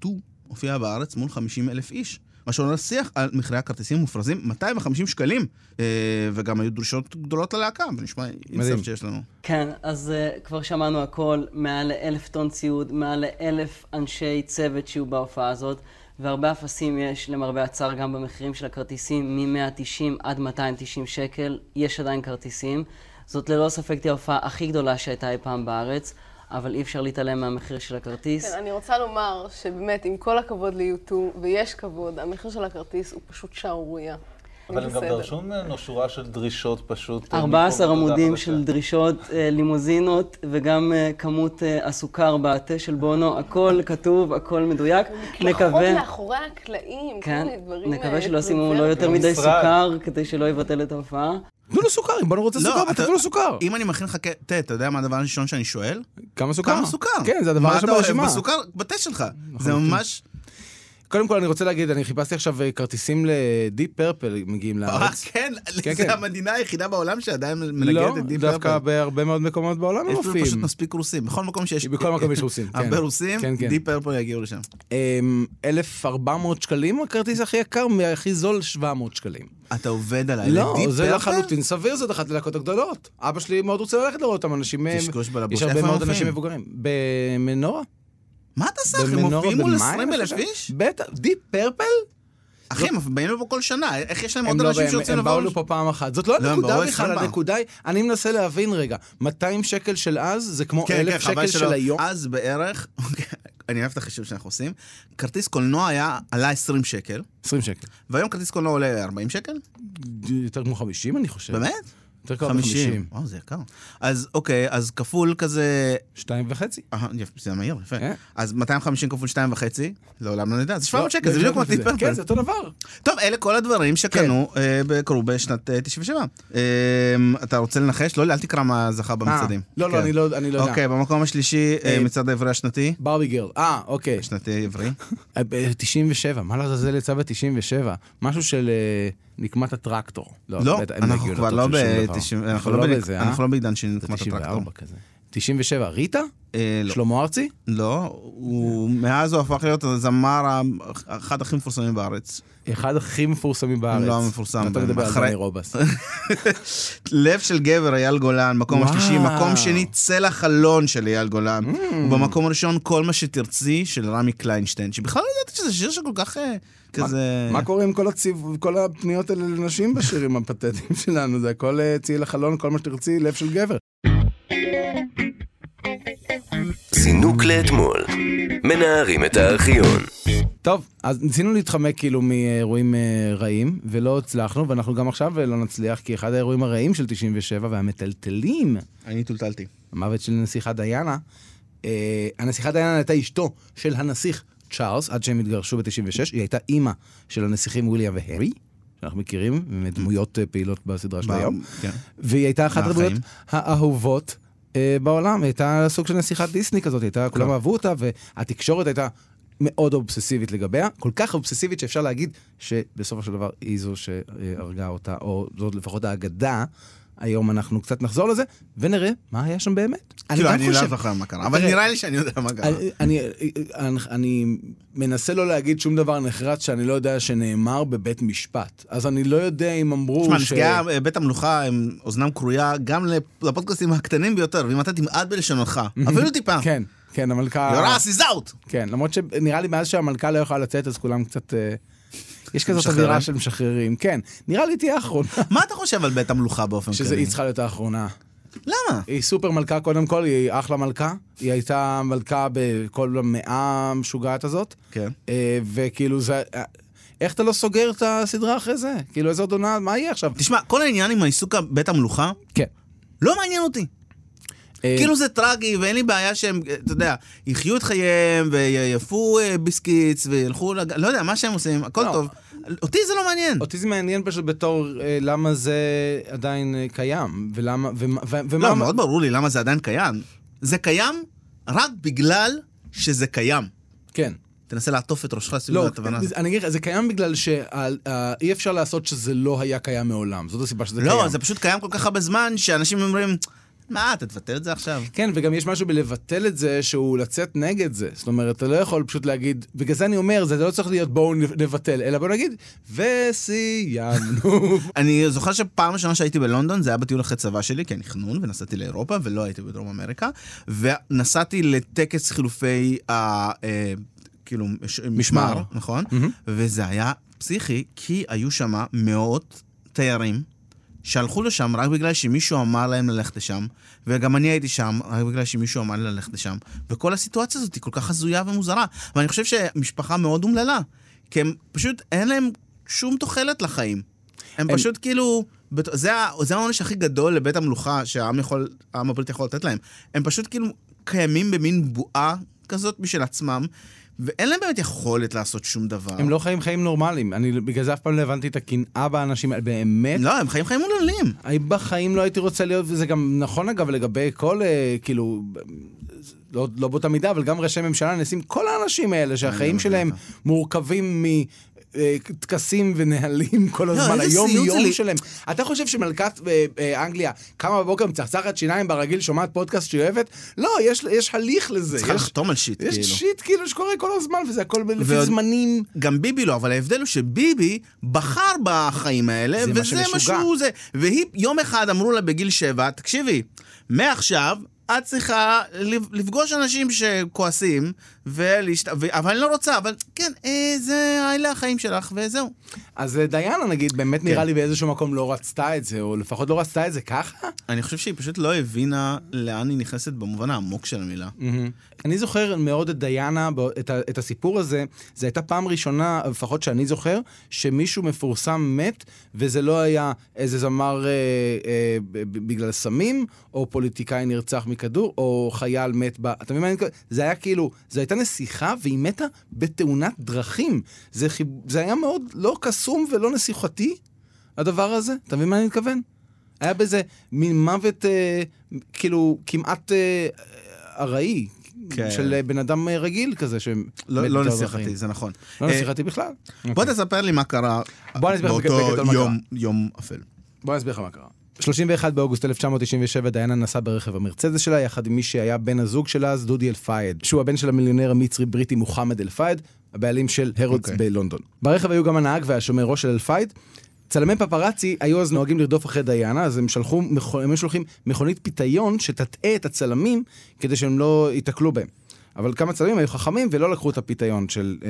Speaker 4: U2 הופיעה בארץ מול 50 אלף איש. מה שעולה שיח על מחירי הכרטיסים המופרזים, 250 שקלים. אה, וגם היו דרישות גדולות ללהקה, ונשמע אינסטנט שיש לנו.
Speaker 7: כן, אז uh, כבר שמענו הכל, מעל אלף טון ציוד, מעל אלף אנשי צוות שיהיו בהופעה הזאת, והרבה אפסים יש, למרבה הצער, גם במחירים של הכרטיסים, מ-190 עד 290 שקל, יש עדיין כרטיסים. זאת ללא ספק תהיה ההופעה הכי גדולה שהייתה אי פעם בארץ, אבל אי אפשר להתעלם מהמחיר של הכרטיס.
Speaker 8: כן, אני רוצה לומר שבאמת, עם כל הכבוד ל-U2, ויש כבוד, המחיר של הכרטיס הוא פשוט שערורייה.
Speaker 9: אבל הם גם
Speaker 8: בסדר.
Speaker 9: דרשו ממנו אה, שורה של דרישות פשוט. אה,
Speaker 7: 14
Speaker 9: מפה ועד
Speaker 7: עמודים
Speaker 9: החדשה.
Speaker 7: של דרישות, אה, לימוזינות וגם אה, כמות אה, הסוכר בתה של בונו, הכל כתוב, הכל מדויק.
Speaker 8: לפחות
Speaker 7: נקווה...
Speaker 8: מאחורי הקלעים, כל
Speaker 7: כן,
Speaker 8: מיני דברים... אה,
Speaker 7: נקווה שלא שימו לו
Speaker 8: טריוויאליים.
Speaker 7: יותר מדי
Speaker 9: במשרד.
Speaker 7: סוכר כדי שלא יבטל את ההופעה.
Speaker 3: תנו לו סוכר, אם בוא רוצה
Speaker 4: לא,
Speaker 3: סוכר,
Speaker 4: אתה-
Speaker 3: תנו לו סוכר.
Speaker 4: אם אני מכין לך ק- תה, אתה יודע מה הדבר הראשון שאני שואל?
Speaker 3: כמה סוכר?
Speaker 4: כמה סוכר?
Speaker 3: כן, זה הדבר הראשון ברשימה. נכון.
Speaker 4: מה אתה אוהב בסוכר? בתה שלך. זה ממש...
Speaker 3: קודם כל אני רוצה להגיד, אני חיפשתי עכשיו אה, כרטיסים לדיפ פרפל מגיעים
Speaker 4: אה,
Speaker 3: לארץ.
Speaker 4: כן,
Speaker 3: כן, כן.
Speaker 4: זה המדינה היחידה בעולם שעדיין
Speaker 3: לא,
Speaker 4: מנגדת את דיפ
Speaker 3: דווקא
Speaker 4: פרפל.
Speaker 3: בהרבה מאוד מקומות בעולם הם
Speaker 4: יש לנו פשוט
Speaker 3: מופיעים.
Speaker 4: מספיק רוסים. בכל מקום שיש...
Speaker 3: בכל מקום יש רוסים, כן.
Speaker 4: הרבה רוסים,
Speaker 3: כן, כן.
Speaker 4: דיפ פרפל יגיעו לשם.
Speaker 3: אמ, 1,400 שקלים הכרטיס הכי יקר, והכי זול 700 שקלים.
Speaker 4: אתה עובד עליי.
Speaker 3: לא,
Speaker 4: אה, לדיפ
Speaker 3: זה
Speaker 4: פרפל?
Speaker 3: לחלוטין סביר, זאת אחת הלהקות הגדולות. אבא שלי מאוד רוצה ללכת לראות אותם אנשים. אה,
Speaker 4: קשקוש בלבוש.
Speaker 3: יש
Speaker 4: איפה
Speaker 3: הרבה
Speaker 4: הם
Speaker 3: מאוד
Speaker 4: מופיעים?
Speaker 3: אנשים מבוגרים. במנורה.
Speaker 4: מה אתה עושה? אחי? הם
Speaker 3: במנורה,
Speaker 4: מופיעים מול
Speaker 3: במאי,
Speaker 4: 20 אלף
Speaker 3: אני חושב.
Speaker 4: איש?
Speaker 3: בטח, דיפ פרפל?
Speaker 4: אחי, הם באים לפה כל שנה, איך יש להם
Speaker 3: לא- הם
Speaker 4: עוד
Speaker 3: לא
Speaker 4: אנשים
Speaker 3: באים,
Speaker 4: שרוצים
Speaker 3: הם באו
Speaker 4: לבוא?
Speaker 3: לפה פעם אחת. זאת לא
Speaker 4: לא, הם
Speaker 3: הנקודה
Speaker 4: באו
Speaker 3: בכלל,
Speaker 4: עשרים פעם.
Speaker 3: הנקודה היא, אני מנסה להבין רגע, 200 שקל של אז זה כמו
Speaker 4: כן, כן,
Speaker 3: 1,000
Speaker 4: חבל
Speaker 3: שקל של
Speaker 4: שלא.
Speaker 3: היום?
Speaker 4: אז בערך, אוקיי, אני אוהב את החישוב שאנחנו עושים, כרטיס קולנוע היה, עלה 20 שקל,
Speaker 3: 20 שקל.
Speaker 4: והיום כרטיס קולנוע עולה 40 שקל?
Speaker 3: יותר כמו 50 אני חושב.
Speaker 4: באמת?
Speaker 3: יותר קרוב ל-50.
Speaker 4: וואו, זה יקר. אז אוקיי, אז כפול כזה...
Speaker 3: שתיים וחצי.
Speaker 4: אה, יפה, זה מהיר, יפה.
Speaker 3: אה?
Speaker 4: אז 250 כפול 2.5, לעולם לא נדע. זה 700
Speaker 3: לא,
Speaker 4: שקל, זה
Speaker 3: לא
Speaker 4: בדיוק כמו
Speaker 3: הכרתי את
Speaker 4: טיפ פרפל.
Speaker 3: כן, זה כן. אותו דבר.
Speaker 4: טוב, אלה כל הדברים שקנו, אה, ב- קרו בשנת אה, 97. אה, אתה רוצה לנחש? לא, אל תקרא מה זכה במצעדים.
Speaker 3: אה, לא, לא,
Speaker 4: כן.
Speaker 3: אני לא אני לא יודע.
Speaker 4: אוקיי, במקום השלישי, אה,
Speaker 3: אה,
Speaker 4: מצעד העברי השנתי.
Speaker 3: ברבי גרל. אה, אוקיי.
Speaker 4: השנתי עברי.
Speaker 3: אה, ב- 97, מה לעזאזל יצא ב-97? משהו של אה, נקמת הטרקטור.
Speaker 4: לא,
Speaker 3: בטח, אין
Speaker 4: אנחנו
Speaker 3: הגיונות
Speaker 4: כבר
Speaker 3: של
Speaker 4: לא
Speaker 3: שום דבר.
Speaker 4: ב-90, אנחנו לא בנק-
Speaker 3: בזה, אה?
Speaker 4: אנחנו לא בעידן
Speaker 3: זה
Speaker 4: שנקמת הטרקטור.
Speaker 3: 94 כזה. 97, ריטה?
Speaker 4: אה, לא.
Speaker 3: שלמה ארצי?
Speaker 4: לא, הוא מאז הוא הפך להיות הזמר ה- אחד הכי מפורסמים בארץ.
Speaker 3: אחד הכי מפורסמים בארץ.
Speaker 4: לא המפורסם,
Speaker 3: אתה מדבר על
Speaker 4: אחרי-
Speaker 3: דני רובס.
Speaker 4: לב של גבר, אייל גולן, מקום
Speaker 3: וואו.
Speaker 4: השלישי, מקום שני, צל החלון של אייל גולן.
Speaker 3: Mm.
Speaker 4: ובמקום הראשון, כל מה שתרצי של רמי קליינשטיין, שבכלל לא ידעתי שזה שיר שכל כך אה, כזה...
Speaker 3: מה קורה עם כל הציב- כל הפניות האלה לנשים בשירים הפתטיים שלנו? זה הכל אה, צאי לחלון, כל מה שתרצי, לב של גבר.
Speaker 2: זינוק לאתמול. מנערים את הארכיון.
Speaker 3: טוב, אז ניסינו להתחמק כאילו מאירועים אה, רעים, ולא הצלחנו, ואנחנו גם עכשיו אה, לא נצליח, כי אחד האירועים הרעים של 97 והמטלטלים,
Speaker 4: אני טולטלתי.
Speaker 3: המוות של נסיכה דיאנה, אה, הנסיכה דיאנה הייתה אשתו של הנסיך צ'ארלס, עד שהם התגרשו ב-96, היא הייתה אימא של הנסיכים וויליאם והרי, שאנחנו מכירים, מדמויות אה, פעילות בסדרה של
Speaker 4: ב-
Speaker 3: היום,
Speaker 4: כן.
Speaker 3: והיא הייתה אחת
Speaker 4: מהחיים.
Speaker 3: הדמויות האהובות. אה, בעולם, היא הייתה סוג של נסיכת דיסני כזאת, היא
Speaker 4: כן.
Speaker 3: הייתה, כולם אהבו אותה, והתקשורת הייתה מאוד אובססיבית לגביה, כל כך אובססיבית שאפשר להגיד שבסופו של דבר היא זו שהרגה אותה, או זאת לפחות האגדה. היום אנחנו קצת נחזור לזה, ונראה מה היה שם באמת.
Speaker 4: כאילו,
Speaker 3: גם
Speaker 4: אני לא
Speaker 3: חושב- אה,
Speaker 4: זוכר מה קרה, אבל
Speaker 3: תראה, אה,
Speaker 4: נראה לי שאני יודע מה קרה.
Speaker 3: אני- אני- אני- אני מנסה לא להגיד שום דבר נחרץ שאני לא יודע שנאמר בבית משפט. אז אני לא יודע אם אמרו
Speaker 4: תשמע,
Speaker 3: ש...
Speaker 4: נפגעי אה, בית המלוכה הם אוזנם כרויה גם לפ- לפודקאסטים הקטנים ביותר, ואם אתה תמעט בלשונך, אפילו טיפה,
Speaker 3: כן, כן, המלכה...
Speaker 4: יורס is out!
Speaker 3: כן, למרות שנראה לי מאז שהמלכה לא יכולה לצאת, אז כולם קצת... אה, יש כזאת
Speaker 4: משחררים. אוקיי.
Speaker 3: אווירה של משחררים. כן, נראה לי תהיה האחרונה.
Speaker 4: מה אתה חושב על בית המלוכה באופן כללי?
Speaker 3: שזה, היא צריכה להיות האחרונה.
Speaker 4: למה?
Speaker 3: היא סופר מלכה קודם כל, היא אחלה מלכה. היא הייתה מלכה בכל המאה המשוגעת הזאת.
Speaker 4: כן.
Speaker 3: אה, וכאילו זה... אה, איך אתה לא סוגר את הסדרה אחרי זה? כאילו איזה עוד עונה, מה יהיה עכשיו?
Speaker 4: תשמע, כל העניין עם העיסוק בית המלוכה,
Speaker 3: כן.
Speaker 4: לא מעניין אותי.
Speaker 3: אה,
Speaker 4: כאילו זה טרגי, ואין לי בעיה שהם, אה, אתה יודע, יחיו את חייהם, ויעפו אה, ביסקיץ, וילכו, לג... לא יודע, מה שהם עושים, הכל
Speaker 3: לא.
Speaker 4: טוב. אותי זה לא מעניין.
Speaker 3: אותי זה מעניין פשוט בתור אה, למה זה עדיין אה, קיים, ולמה... ומה- ו- ומה...
Speaker 4: לא, מאוד ברור לי למה זה עדיין קיים. זה קיים רק בגלל שזה קיים.
Speaker 3: כן.
Speaker 4: תנסה לעטוף את ראשך סביב
Speaker 3: לא,
Speaker 4: התובנה הזאת.
Speaker 3: אני אגיד לך, זה קיים בגלל שאי אפשר לעשות שזה לא היה קיים מעולם. זאת הסיבה שזה קיים.
Speaker 4: לא, זה פשוט קיים כל כך הרבה זמן, שאנשים אומרים, מה, אתה תבטל את זה עכשיו?
Speaker 3: כן, וגם יש משהו בלבטל את זה, שהוא לצאת נגד זה. זאת אומרת, אתה לא יכול פשוט להגיד, בגלל זה אני אומר, זה לא צריך להיות בואו נבטל, אלא בואו נגיד, וסיימנו.
Speaker 4: אני זוכר שפעם ראשונה שהייתי בלונדון, זה היה בטיול אחרי צבא שלי, כי אני חנון, ונסעתי לאירופה, ולא הייתי בדרום אמריקה, ונסעתי לטקס חילופי ה... אה, כאילו, מש- משמר, נכון? וזה היה פסיכי, כי היו שם מאות תיירים. שהלכו לשם רק בגלל שמישהו אמר להם ללכת לשם, וגם אני הייתי שם רק בגלל שמישהו אמר לי ללכת לשם. וכל הסיטואציה הזאת היא כל כך הזויה ומוזרה. ואני חושב שמשפחה מאוד אומללה, כי הם פשוט, אין להם שום תוחלת לחיים. הם
Speaker 3: הם-
Speaker 4: פשוט כאילו, בת- זה ה- זה העונש הכי גדול לבית המלוכה שהעם יכול, העם הבריטי יכול לתת להם. הם פשוט כאילו קיימים במין בועה כזאת משל עצמם, ואין להם באמת יכולת לעשות שום דבר.
Speaker 3: הם לא חיים חיים נורמליים. אני בגלל זה אף פעם לא הבנתי את הקנאה באנשים האלה, באמת.
Speaker 4: לא, הם חיים חיים מוללים.
Speaker 3: אני בחיים לא הייתי רוצה להיות, וזה גם נכון אגב לגבי כל, אה, כאילו, לא, לא באותה מידה, אבל גם ראשי ממשלה, נשיאים, כל האנשים האלה שהחיים שלהם מורכבים מ... אה, טקסים ונהלים כל הזמן,
Speaker 4: לא, איזה
Speaker 3: היום
Speaker 4: סיוט זה
Speaker 3: יום
Speaker 4: לי.
Speaker 3: שלהם. אתה חושב שמלכת אה, אה, אנגליה קמה בבוקר, מצחצחת שיניים ברגיל, שומעת פודקאסט שהיא אוהבת? לא, יש, יש הליך לזה.
Speaker 4: צריכה
Speaker 3: יש-
Speaker 4: לחתום על שיט,
Speaker 3: יש
Speaker 4: כאילו.
Speaker 3: שיט כאילו שקורה כל הזמן, וזה הכל ב- לפי
Speaker 4: ועוד-
Speaker 3: זמנים.
Speaker 4: גם ביבי לא, אבל ההבדל הוא שביבי בחר בחיים האלה,
Speaker 3: זה מה
Speaker 4: וזה מה
Speaker 3: שמשוגע.
Speaker 4: שהוא זה. והיא, יום אחד אמרו לה בגיל שבע, תקשיבי, מעכשיו את צריכה לב- לפגוש אנשים שכועסים, ולהשת... ו... אבל אני לא רוצה, אבל כן, אה, זה, אלה החיים שלך, וזהו.
Speaker 3: אז אה, דיאנה, נגיד, באמת
Speaker 4: כן.
Speaker 3: נראה לי באיזשהו מקום לא רצתה את זה, או לפחות לא רצתה את זה ככה.
Speaker 4: אני חושב שהיא פשוט לא הבינה לאן היא נכנסת במובן העמוק של המילה.
Speaker 3: Mm-hmm. אני זוכר מאוד את דיאנה, ב- את ה- את הסיפור הזה, זו הייתה פעם ראשונה, לפחות שאני זוכר, שמישהו מפורסם מת, וזה לא היה איזה זמר אה, אה, ב- ב- בגלל סמים, או פוליטיקאי נרצח מכדור, או חייל מת ב... אתה מבין מה אני מתכוון? זה היה כאילו, זו הייתה נסיכה, והיא מתה בתאונת דרכים. זה, חיב... זה היה מאוד לא קסום ולא נסיכתי, הדבר הזה. אתה מבין מה אני מתכוון? היה בזה מין מוות, אה, כאילו, כמעט אה, ארעי,
Speaker 4: כן.
Speaker 3: כן. של אה, בן אדם אה, רגיל כזה, שמת
Speaker 4: לא, לא
Speaker 3: בתאונת
Speaker 4: נסיכתי,
Speaker 3: דרכים.
Speaker 4: זה נכון.
Speaker 3: לא
Speaker 4: אה,
Speaker 3: נסיכתי בכלל.
Speaker 4: בוא תספר לי מה קרה
Speaker 3: אוקיי. בוא אני אסביר לך בגדול מה
Speaker 4: באותו
Speaker 3: קרה.
Speaker 4: יום, יום אפל.
Speaker 3: בוא אני אסביר לך מה קרה. 31 באוגוסט 1997, דיאנה נסעה ברכב המרצדס שלה, יחד עם מי שהיה בן הזוג שלה אז, דודי אל-פאייד, שהוא הבן של המיליונר המצרי-בריטי מוחמד אל-פאייד, הבעלים של הרודס
Speaker 4: אוקיי.
Speaker 3: okay. בלונדון. ברכב היו גם הנהג והשומר ראש של אל-פאייד. צלמי פפראצי היו אז נוהגים לרדוף אחרי דיאנה, אז הם שלחו, מכו- הם היו שולחים מכונית פיתיון שתטעה את הצלמים כדי שהם לא ייתקלו בהם. אבל כמה צלמים היו חכמים ולא לקחו את הפיתיון של אה,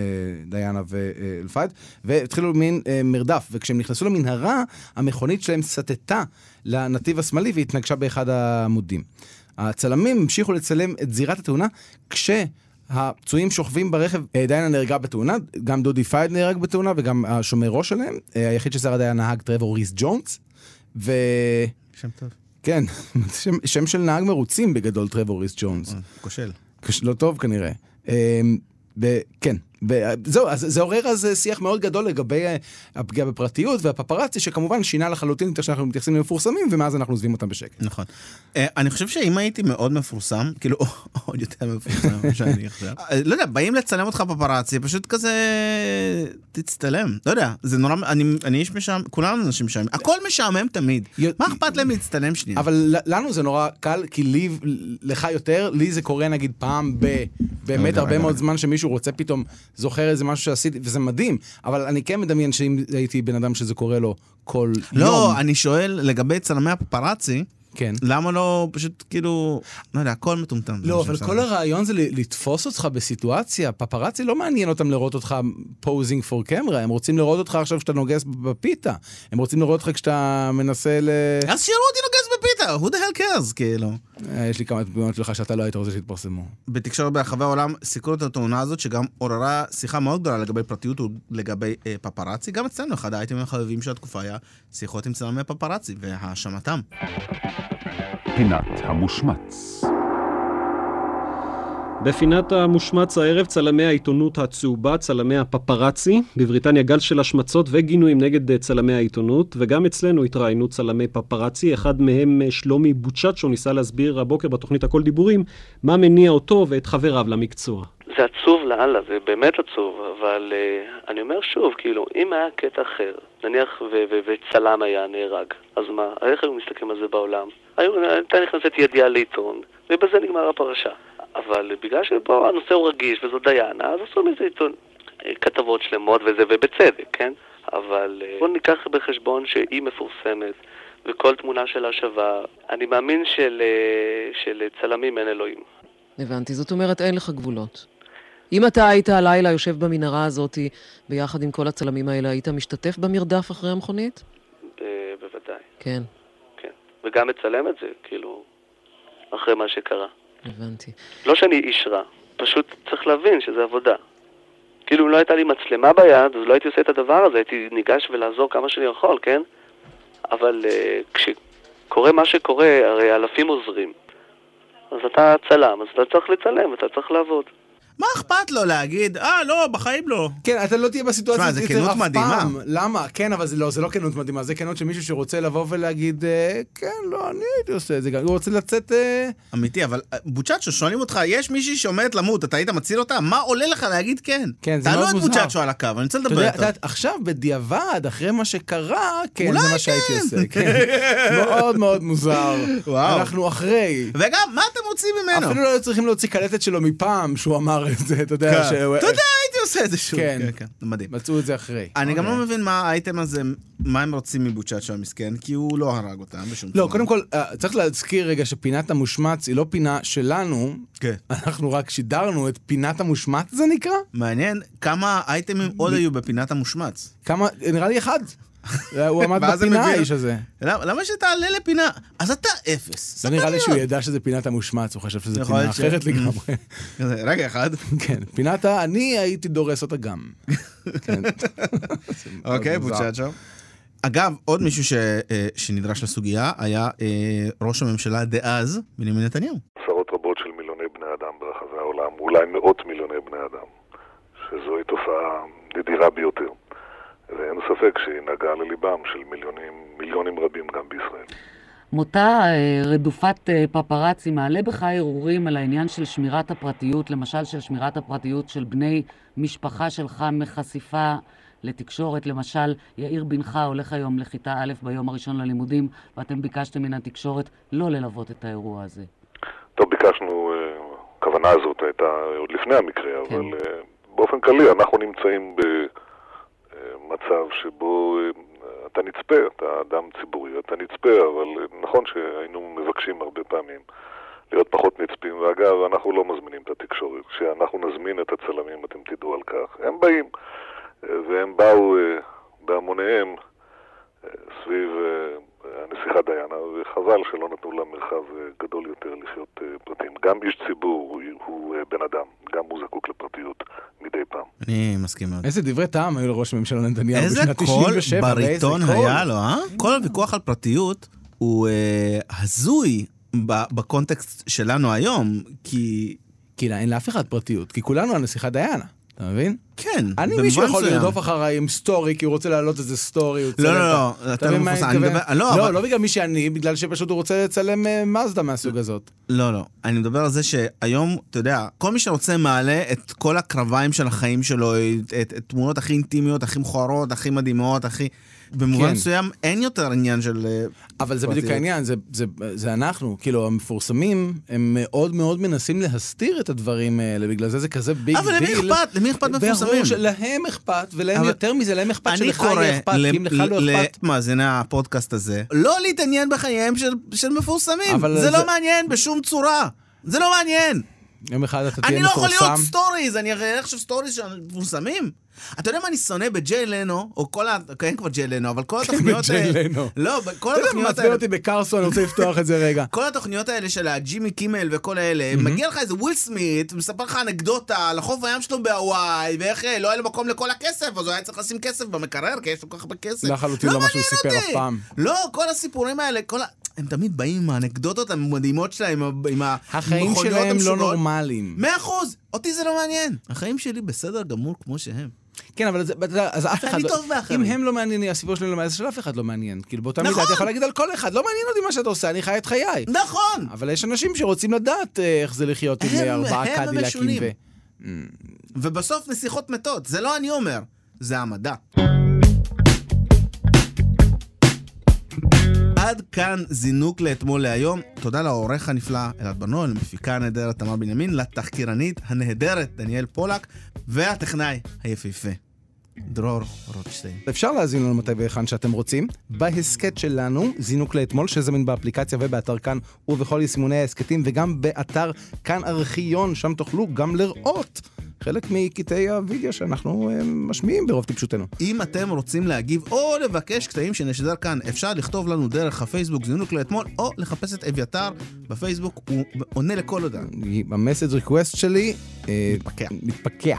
Speaker 3: דיאנה ואלפייד, והתחילו מין אה, מרדף, וכשהם נכנסו למנהרה, המכונית שלהם סטתה לנתיב השמאלי והתנגשה באחד העמודים. הצלמים המשיכו לצלם את זירת התאונה, כשהפצועים שוכבים ברכב, אה, דיאנה נהרגה בתאונה, גם דודי פייד נהרג בתאונה וגם השומר ראש שלהם, אה, היחיד ששרד היה נהג טרוור ריס ג'ונס, ו...
Speaker 4: שם טוב.
Speaker 3: כן, שם, שם של נהג מרוצים בגדול, טרוור ריס ג'ונס.
Speaker 4: אה, כושל.
Speaker 3: קש- לא טוב כנראה. אמ, ב- כן, ב- זהו, אז זה עורר אז אה, שיח מאוד גדול לגבי אה, הפגיעה בפרטיות והפפרצי, שכמובן שינה לחלוטין את איך שאנחנו מתייחסים למפורסמים, ומאז אנחנו עוזבים אותם בשקט.
Speaker 4: נכון. אה, אני חושב שאם הייתי מאוד מפורסם, כאילו עוד יותר מפורסם ממה שאני עכשיו, אה, לא יודע, באים לצלם אותך פפראצי, פשוט כזה תצטלם, לא יודע, זה נורא, אני אני איש משעמם, כולנו אנשים משעמם, הכל משעמם תמיד,
Speaker 3: יו-
Speaker 4: מה אכפת להם להצטלם שנייה?
Speaker 3: אבל ל- לנו זה נורא קל, כי לי, לך יותר, לי זה קורה נגיד פעם ב... באמת
Speaker 4: רגע,
Speaker 3: הרבה
Speaker 4: רגע,
Speaker 3: מאוד
Speaker 4: רגע.
Speaker 3: זמן שמישהו רוצה פתאום, זוכר איזה משהו שעשיתי, וזה מדהים, אבל אני כן מדמיין שאם הייתי בן אדם שזה קורה לו כל יום...
Speaker 4: לא, אני שואל לגבי צלמי הפפראצי,
Speaker 3: כן.
Speaker 4: למה לא פשוט כאילו, לא יודע, הכל מטומטם.
Speaker 3: לא, אבל כל הרעיון זה ל- לתפוס אותך בסיטואציה. פפראצי לא מעניין אותם לראות אותך פוזינג פור קמרה, הם רוצים לראות אותך עכשיו כשאתה נוגס בפיתה. הם רוצים לראות אותך כשאתה מנסה ל...
Speaker 4: אז שיראו אותי נוגס בפיתה, who the hell cares, כאילו.
Speaker 3: אה, יש לי כמה תמונות שלך שאתה לא היית רוצה שיתפרסמו.
Speaker 4: בתקשורת ברחבי העולם סיקרו את התאונה הזאת, שגם עוררה שיחה מאוד גדולה לגבי פרטיות ולגבי אה, פפראצי. גם אצלנו אחד האייטמים החביבים של התקופה היה שיחות עם צלמי פפראצי והאשמתם.
Speaker 1: פינת המושמץ.
Speaker 10: בפינת המושמץ הערב צלמי העיתונות הצהובה, צלמי הפפראצי, בבריטניה גל של השמצות וגינויים נגד אה, צלמי העיתונות, וגם אצלנו התראיינו צלמי פפראצי, אחד מהם אה, שלומי בוצ'צ'ו ניסה להסביר הבוקר בתוכנית הכל דיבורים, מה מניע אותו ואת חבריו למקצוע.
Speaker 11: זה עצוב לאללה, זה באמת עצוב, אבל uh, אני אומר שוב, כאילו, אם היה קטע אחר, נניח ו- ו- וצלם היה נהרג, אז מה, איך היו מסתכלים על זה בעולם? היו, הייתה נכנסת ידיעה לעיתון, ובזה נגמר הפרשה. אבל בגלל שפה הנושא הוא רגיש, וזו דיין, אז עשו מזה עיתון, אה, כתבות שלמות וזה, ובצדק, כן? אבל אה, בואו ניקח בחשבון שהיא מפורסמת, וכל תמונה שלה שווה. אני מאמין של, אה, של צלמים אין אלוהים.
Speaker 12: הבנתי, זאת אומרת אין לך גבולות. אם אתה היית הלילה יושב במנהרה הזאת ביחד עם כל הצלמים האלה, היית משתתף במרדף אחרי המכונית?
Speaker 11: אה, בוודאי.
Speaker 12: כן,
Speaker 11: כן. וגם מצלם את זה, כאילו, אחרי מה שקרה.
Speaker 12: הבנתי.
Speaker 11: לא שאני איש רע, פשוט צריך להבין שזה עבודה. כאילו, אם לא הייתה לי מצלמה ביד, אז לא הייתי עושה את הדבר הזה, הייתי ניגש ולעזור כמה שאני יכול, כן? אבל אה, כשקורה מה שקורה, הרי אלפים עוזרים. אז אתה צלם, אז אתה צריך לצלם, אתה צריך לעבוד.
Speaker 4: מה אכפת לו להגיד, אה, לא, בחיים לא.
Speaker 3: כן, אתה לא תהיה בסיטואציה
Speaker 4: תשמע,
Speaker 3: הזאת
Speaker 4: זה כנות
Speaker 3: אף
Speaker 4: מדהימה.
Speaker 3: פעם. למה? כן, אבל זה לא, זה לא כנות מדהימה, זה כנות של מישהו שרוצה לבוא ולהגיד, אה, כן, לא, אני הייתי עושה את זה גם. הוא רוצה לצאת... אה,
Speaker 4: אמיתי, אבל אה, בוצ'צ'ו, שואלים אותך, יש מישהי שעומדת למות, אתה היית מציל אותה? מה עולה לך להגיד כן?
Speaker 3: כן, זה מאוד
Speaker 4: תעלו
Speaker 3: מוזר.
Speaker 4: את בוצ'צ'ו על הקו, אני רוצה
Speaker 3: אתה
Speaker 4: לדבר
Speaker 3: יודע,
Speaker 4: איתו.
Speaker 3: אתה יודע, עכשיו בדיעבד, אחרי מה שקרה, כן, זה מה שהייתי
Speaker 4: כן.
Speaker 3: עושה. כן. מאוד מאוד מוזר.
Speaker 4: וואו.
Speaker 3: אנחנו אחרי. לא
Speaker 4: וגם, מה אתם רוצים ממנו?
Speaker 3: אפילו לא היו צריכים להוציא קלטת שלו מפעם, שהוא אמר את זה, אתה
Speaker 4: כן.
Speaker 3: יודע, ש...
Speaker 4: אתה יודע, הייתי עושה את זה שוב.
Speaker 3: כן.
Speaker 4: כן, כן, מדהים.
Speaker 3: מצאו את זה אחרי.
Speaker 4: אני גם לא
Speaker 3: אוקיי.
Speaker 4: מבין מה האייטם הזה, מה הם רוצים מבוצ'אצ'ו המסכן, כי הוא לא הרג אותם בשום
Speaker 3: לא, קודם כל, אה, צריך להזכיר רגע שפינת המושמץ היא לא פינה שלנו.
Speaker 4: כן.
Speaker 3: אנחנו רק שידרנו את פינת המושמץ, זה נקרא?
Speaker 4: מעניין, כמה אייטמים עוד היו בפינת המושמץ?
Speaker 3: כמה, נראה לי אחד. הוא עמד
Speaker 4: ואז הם
Speaker 3: בפינה,
Speaker 4: הבינו-
Speaker 3: האיש הזה.
Speaker 4: למה למה שתעלה לפינה? אז אתה אפס.
Speaker 3: לא נראה לי שהוא ידע שזה פינת המושמץ, הוא חשב שזו
Speaker 4: יכול
Speaker 3: פינה
Speaker 4: להיות ש-
Speaker 3: אחרת לגמרי.
Speaker 4: רגע אחד.
Speaker 3: כן, פינת ה... אני הייתי דורס אותה גם. כן. זה מאוד
Speaker 4: אוקיי,
Speaker 3: מוזר.
Speaker 4: בוצ'אצ'ו. אגב, עוד מישהו ש, אה, שנדרש לסוגיה היה אה, ראש הממשלה דאז, בנימין נתניהו.
Speaker 13: עשרות רבות של מיליוני בני אדם ברחבי העולם, אולי מאות מיליוני בני אדם, שזוהי תופעה נדירה ביותר. ואין ספק שהיא נגעה לליבם של מיליונים, מיליונים רבים גם בישראל.
Speaker 14: מותה אה, רדופת אה, פפראצי מעלה בך הרהורים על העניין של שמירת הפרטיות, למשל של שמירת הפרטיות של בני משפחה שלך מחשיפה לתקשורת. למשל, יאיר בנך הולך היום לכיתה א' ביום הראשון ללימודים, ואתם ביקשתם מן התקשורת לא ללוות את האירוע הזה.
Speaker 13: טוב, ביקשנו, אה, הכוונה הזאת הייתה עוד לפני המקרה,
Speaker 14: כן.
Speaker 13: אבל אה, באופן כללי אנחנו נמצאים במצב שבו אה, אתה נצפה, אתה אדם ציבורי, אתה נצפה, אבל אה, נכון שהיינו מבקשים הרבה פעמים להיות פחות נצפים, ואגב, אנחנו לא מזמינים את התקשורת, כשאנחנו נזמין את הצלמים אתם תדעו על כך, הם באים, אה, והם באו אה, בהמוניהם אה, סביב... אה, הנסיכה דיאנה, וחבל שלא נתנו לה מרחב אה, גדול יותר לחיות אה, פרטים. גם איש ציבור הוא, הוא אה, בן אדם, גם הוא זקוק לפרטיות מדי פעם.
Speaker 4: אני מסכים מאוד.
Speaker 3: איזה דברי טעם היו לראש הממשלה נתניהו
Speaker 4: איזה
Speaker 3: בשנת 97.
Speaker 4: קול
Speaker 3: ואיזה
Speaker 4: בריטון
Speaker 3: קול.
Speaker 4: היה לו, אה? כל הוויכוח על פרטיות הוא אה, הזוי ב- בקונטקסט שלנו היום, כי...
Speaker 3: כי אין לאף אחד פרטיות, כי כולנו הנסיכה דיאנה, אתה מבין?
Speaker 4: כן,
Speaker 3: אני
Speaker 4: במובן
Speaker 3: מישהו יכול
Speaker 4: מסוים.
Speaker 3: לרדוף אחריי עם סטורי, כי הוא רוצה להעלות איזה סטורי. הוא
Speaker 4: לא,
Speaker 3: צילם
Speaker 4: לא,
Speaker 3: את ה-
Speaker 4: לא, אתה
Speaker 3: מבין מה
Speaker 4: מפורסם, אני
Speaker 3: מתכוון?
Speaker 4: מדבר- לא,
Speaker 3: לא,
Speaker 4: אבל-
Speaker 3: לא בגלל מי שאני, בגלל שפשוט הוא רוצה לצלם אה, מזדה מהסוג הזאת.
Speaker 4: לא, לא. אני מדבר על זה שהיום, אתה יודע, כל מי שרוצה מעלה את כל הקרביים של החיים שלו, את, את, את תמונות הכי אינטימיות, הכי מכוערות, הכי מדהימות, הכי... במובן
Speaker 3: כן.
Speaker 4: מסוים אין יותר עניין של... אה,
Speaker 3: אבל זה בדיוק
Speaker 4: פרטיות.
Speaker 3: העניין, זה, זה, זה אנחנו, כאילו המפורסמים, הם מאוד מאוד מנסים להסתיר את הדברים האלה, בגלל זה זה כזה ביג דיל.
Speaker 4: אבל למי אכפת? למי אכפת מפורסמים?
Speaker 3: ברור שלהם אכפת, ולהם
Speaker 4: אבל-
Speaker 3: יותר מזה, להם אכפת
Speaker 4: אני
Speaker 3: שלך יהיה אכפת,
Speaker 4: קורא
Speaker 3: כי אם לך לא
Speaker 4: ל-
Speaker 3: אכפת...
Speaker 4: למאזיני הפודקאסט הזה, לא להתעניין בחייהם של, של מפורסמים.
Speaker 3: אבל
Speaker 4: זה, זה
Speaker 3: זה-
Speaker 4: לא מעניין בשום צורה. זה לא מעניין.
Speaker 3: יום אחד אתה תהיה
Speaker 4: אני לא יכול להיות
Speaker 3: מפורסם.
Speaker 4: סטוריז, אני אראה עכשיו סטוריז של מפורסמים. אתה יודע מה אני שונא בג'יי לנו, או כל ה... אין כבר ג'יי לנו, אבל כל התוכניות
Speaker 3: כן, בג'יי
Speaker 4: האלה...
Speaker 3: לנו.
Speaker 4: לא, ב- כל
Speaker 3: אתה יודע מה
Speaker 4: התוכניות
Speaker 3: מעצבן
Speaker 4: האלה...
Speaker 3: אותי בקרסון, אני רוצה לפתוח את זה רגע.
Speaker 4: כל התוכניות האלה של הג'ימי קימל וכל האלה, מגיע לך איזה וויל סמית, מספר לך אנקדוטה על החוף הים שלו בהוואי, ואיך אה, לא היה לו מקום לכל הכסף, אז הוא היה צריך לשים כסף במקרר, כי יש לו כל כך הרבה כסף.
Speaker 3: לחלוטין לא מה שהוא
Speaker 4: מעניין
Speaker 3: סיפר
Speaker 4: אותי.
Speaker 3: אף פעם.
Speaker 4: לא, כל הסיפורים האלה, כל ה... הם תמיד באים עם האנקדוטות המדהימות שלהם, עם ה- עם
Speaker 3: החיים
Speaker 4: המכוניות
Speaker 3: שלהם לא
Speaker 4: המשוגעות.
Speaker 3: נורמליים.
Speaker 4: מאה אחוז, אותי זה לא מעניין. החיים שלי בסדר גמור כמו שהם.
Speaker 3: כן, אבל זה- אתה יודע, אז אף
Speaker 4: אני
Speaker 3: אחד לא...
Speaker 4: טוב באחרים.
Speaker 3: אם הם לא מעניינים, הסיפור שלהם לא מעניין, אז של אף אחד לא מעניין. כאילו, באותה
Speaker 4: נכון.
Speaker 3: מידה אתה יכול להגיד על כל אחד, לא מעניין אותי מה שאתה עושה, אני חי את חיי.
Speaker 4: נכון.
Speaker 3: אבל יש אנשים שרוצים לדעת אה, איך זה לחיות עם
Speaker 4: הם-
Speaker 3: אה, ארבעה
Speaker 4: הם
Speaker 3: קדילקים
Speaker 4: המשונים.
Speaker 3: ו...
Speaker 4: ובסוף נסיכות מתות, זה לא אני אומר, זה המדע. עד כאן זינוק לאתמול להיום. תודה לעורך הנפלא אלעד בנוי, למפיקה הנהדרת תמר בנימין, לתחקירנית הנהדרת דניאל פולק, והטכנאי היפהפה דרור רוטשטיין.
Speaker 3: אפשר להזין לנו מתי והיכן שאתם רוצים. בהסכת שלנו, זינוק לאתמול, שזמין באפליקציה ובאתר כאן ובכל יישומוני ההסכתים, וגם באתר כאן ארכיון, שם תוכלו גם לראות חלק מקטעי הוידאו שאנחנו אה, משמיעים ברוב טיפשותנו.
Speaker 4: אם אתם רוצים להגיב או לבקש קטעים שנשדר כאן, אפשר לכתוב לנו דרך הפייסבוק זינוק לאתמול, או לחפש את אביתר בפייסבוק, הוא עונה לכל הודעה.
Speaker 3: המסג' ריקווסט שלי אה, מתפקע.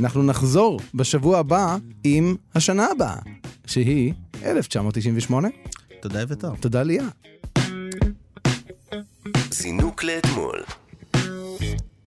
Speaker 3: אנחנו נחזור בשבוע הבא עם השנה הבאה, שהיא 1998.
Speaker 4: תודה אביתר.
Speaker 3: תודה ליה.
Speaker 2: זינוק לאתמול,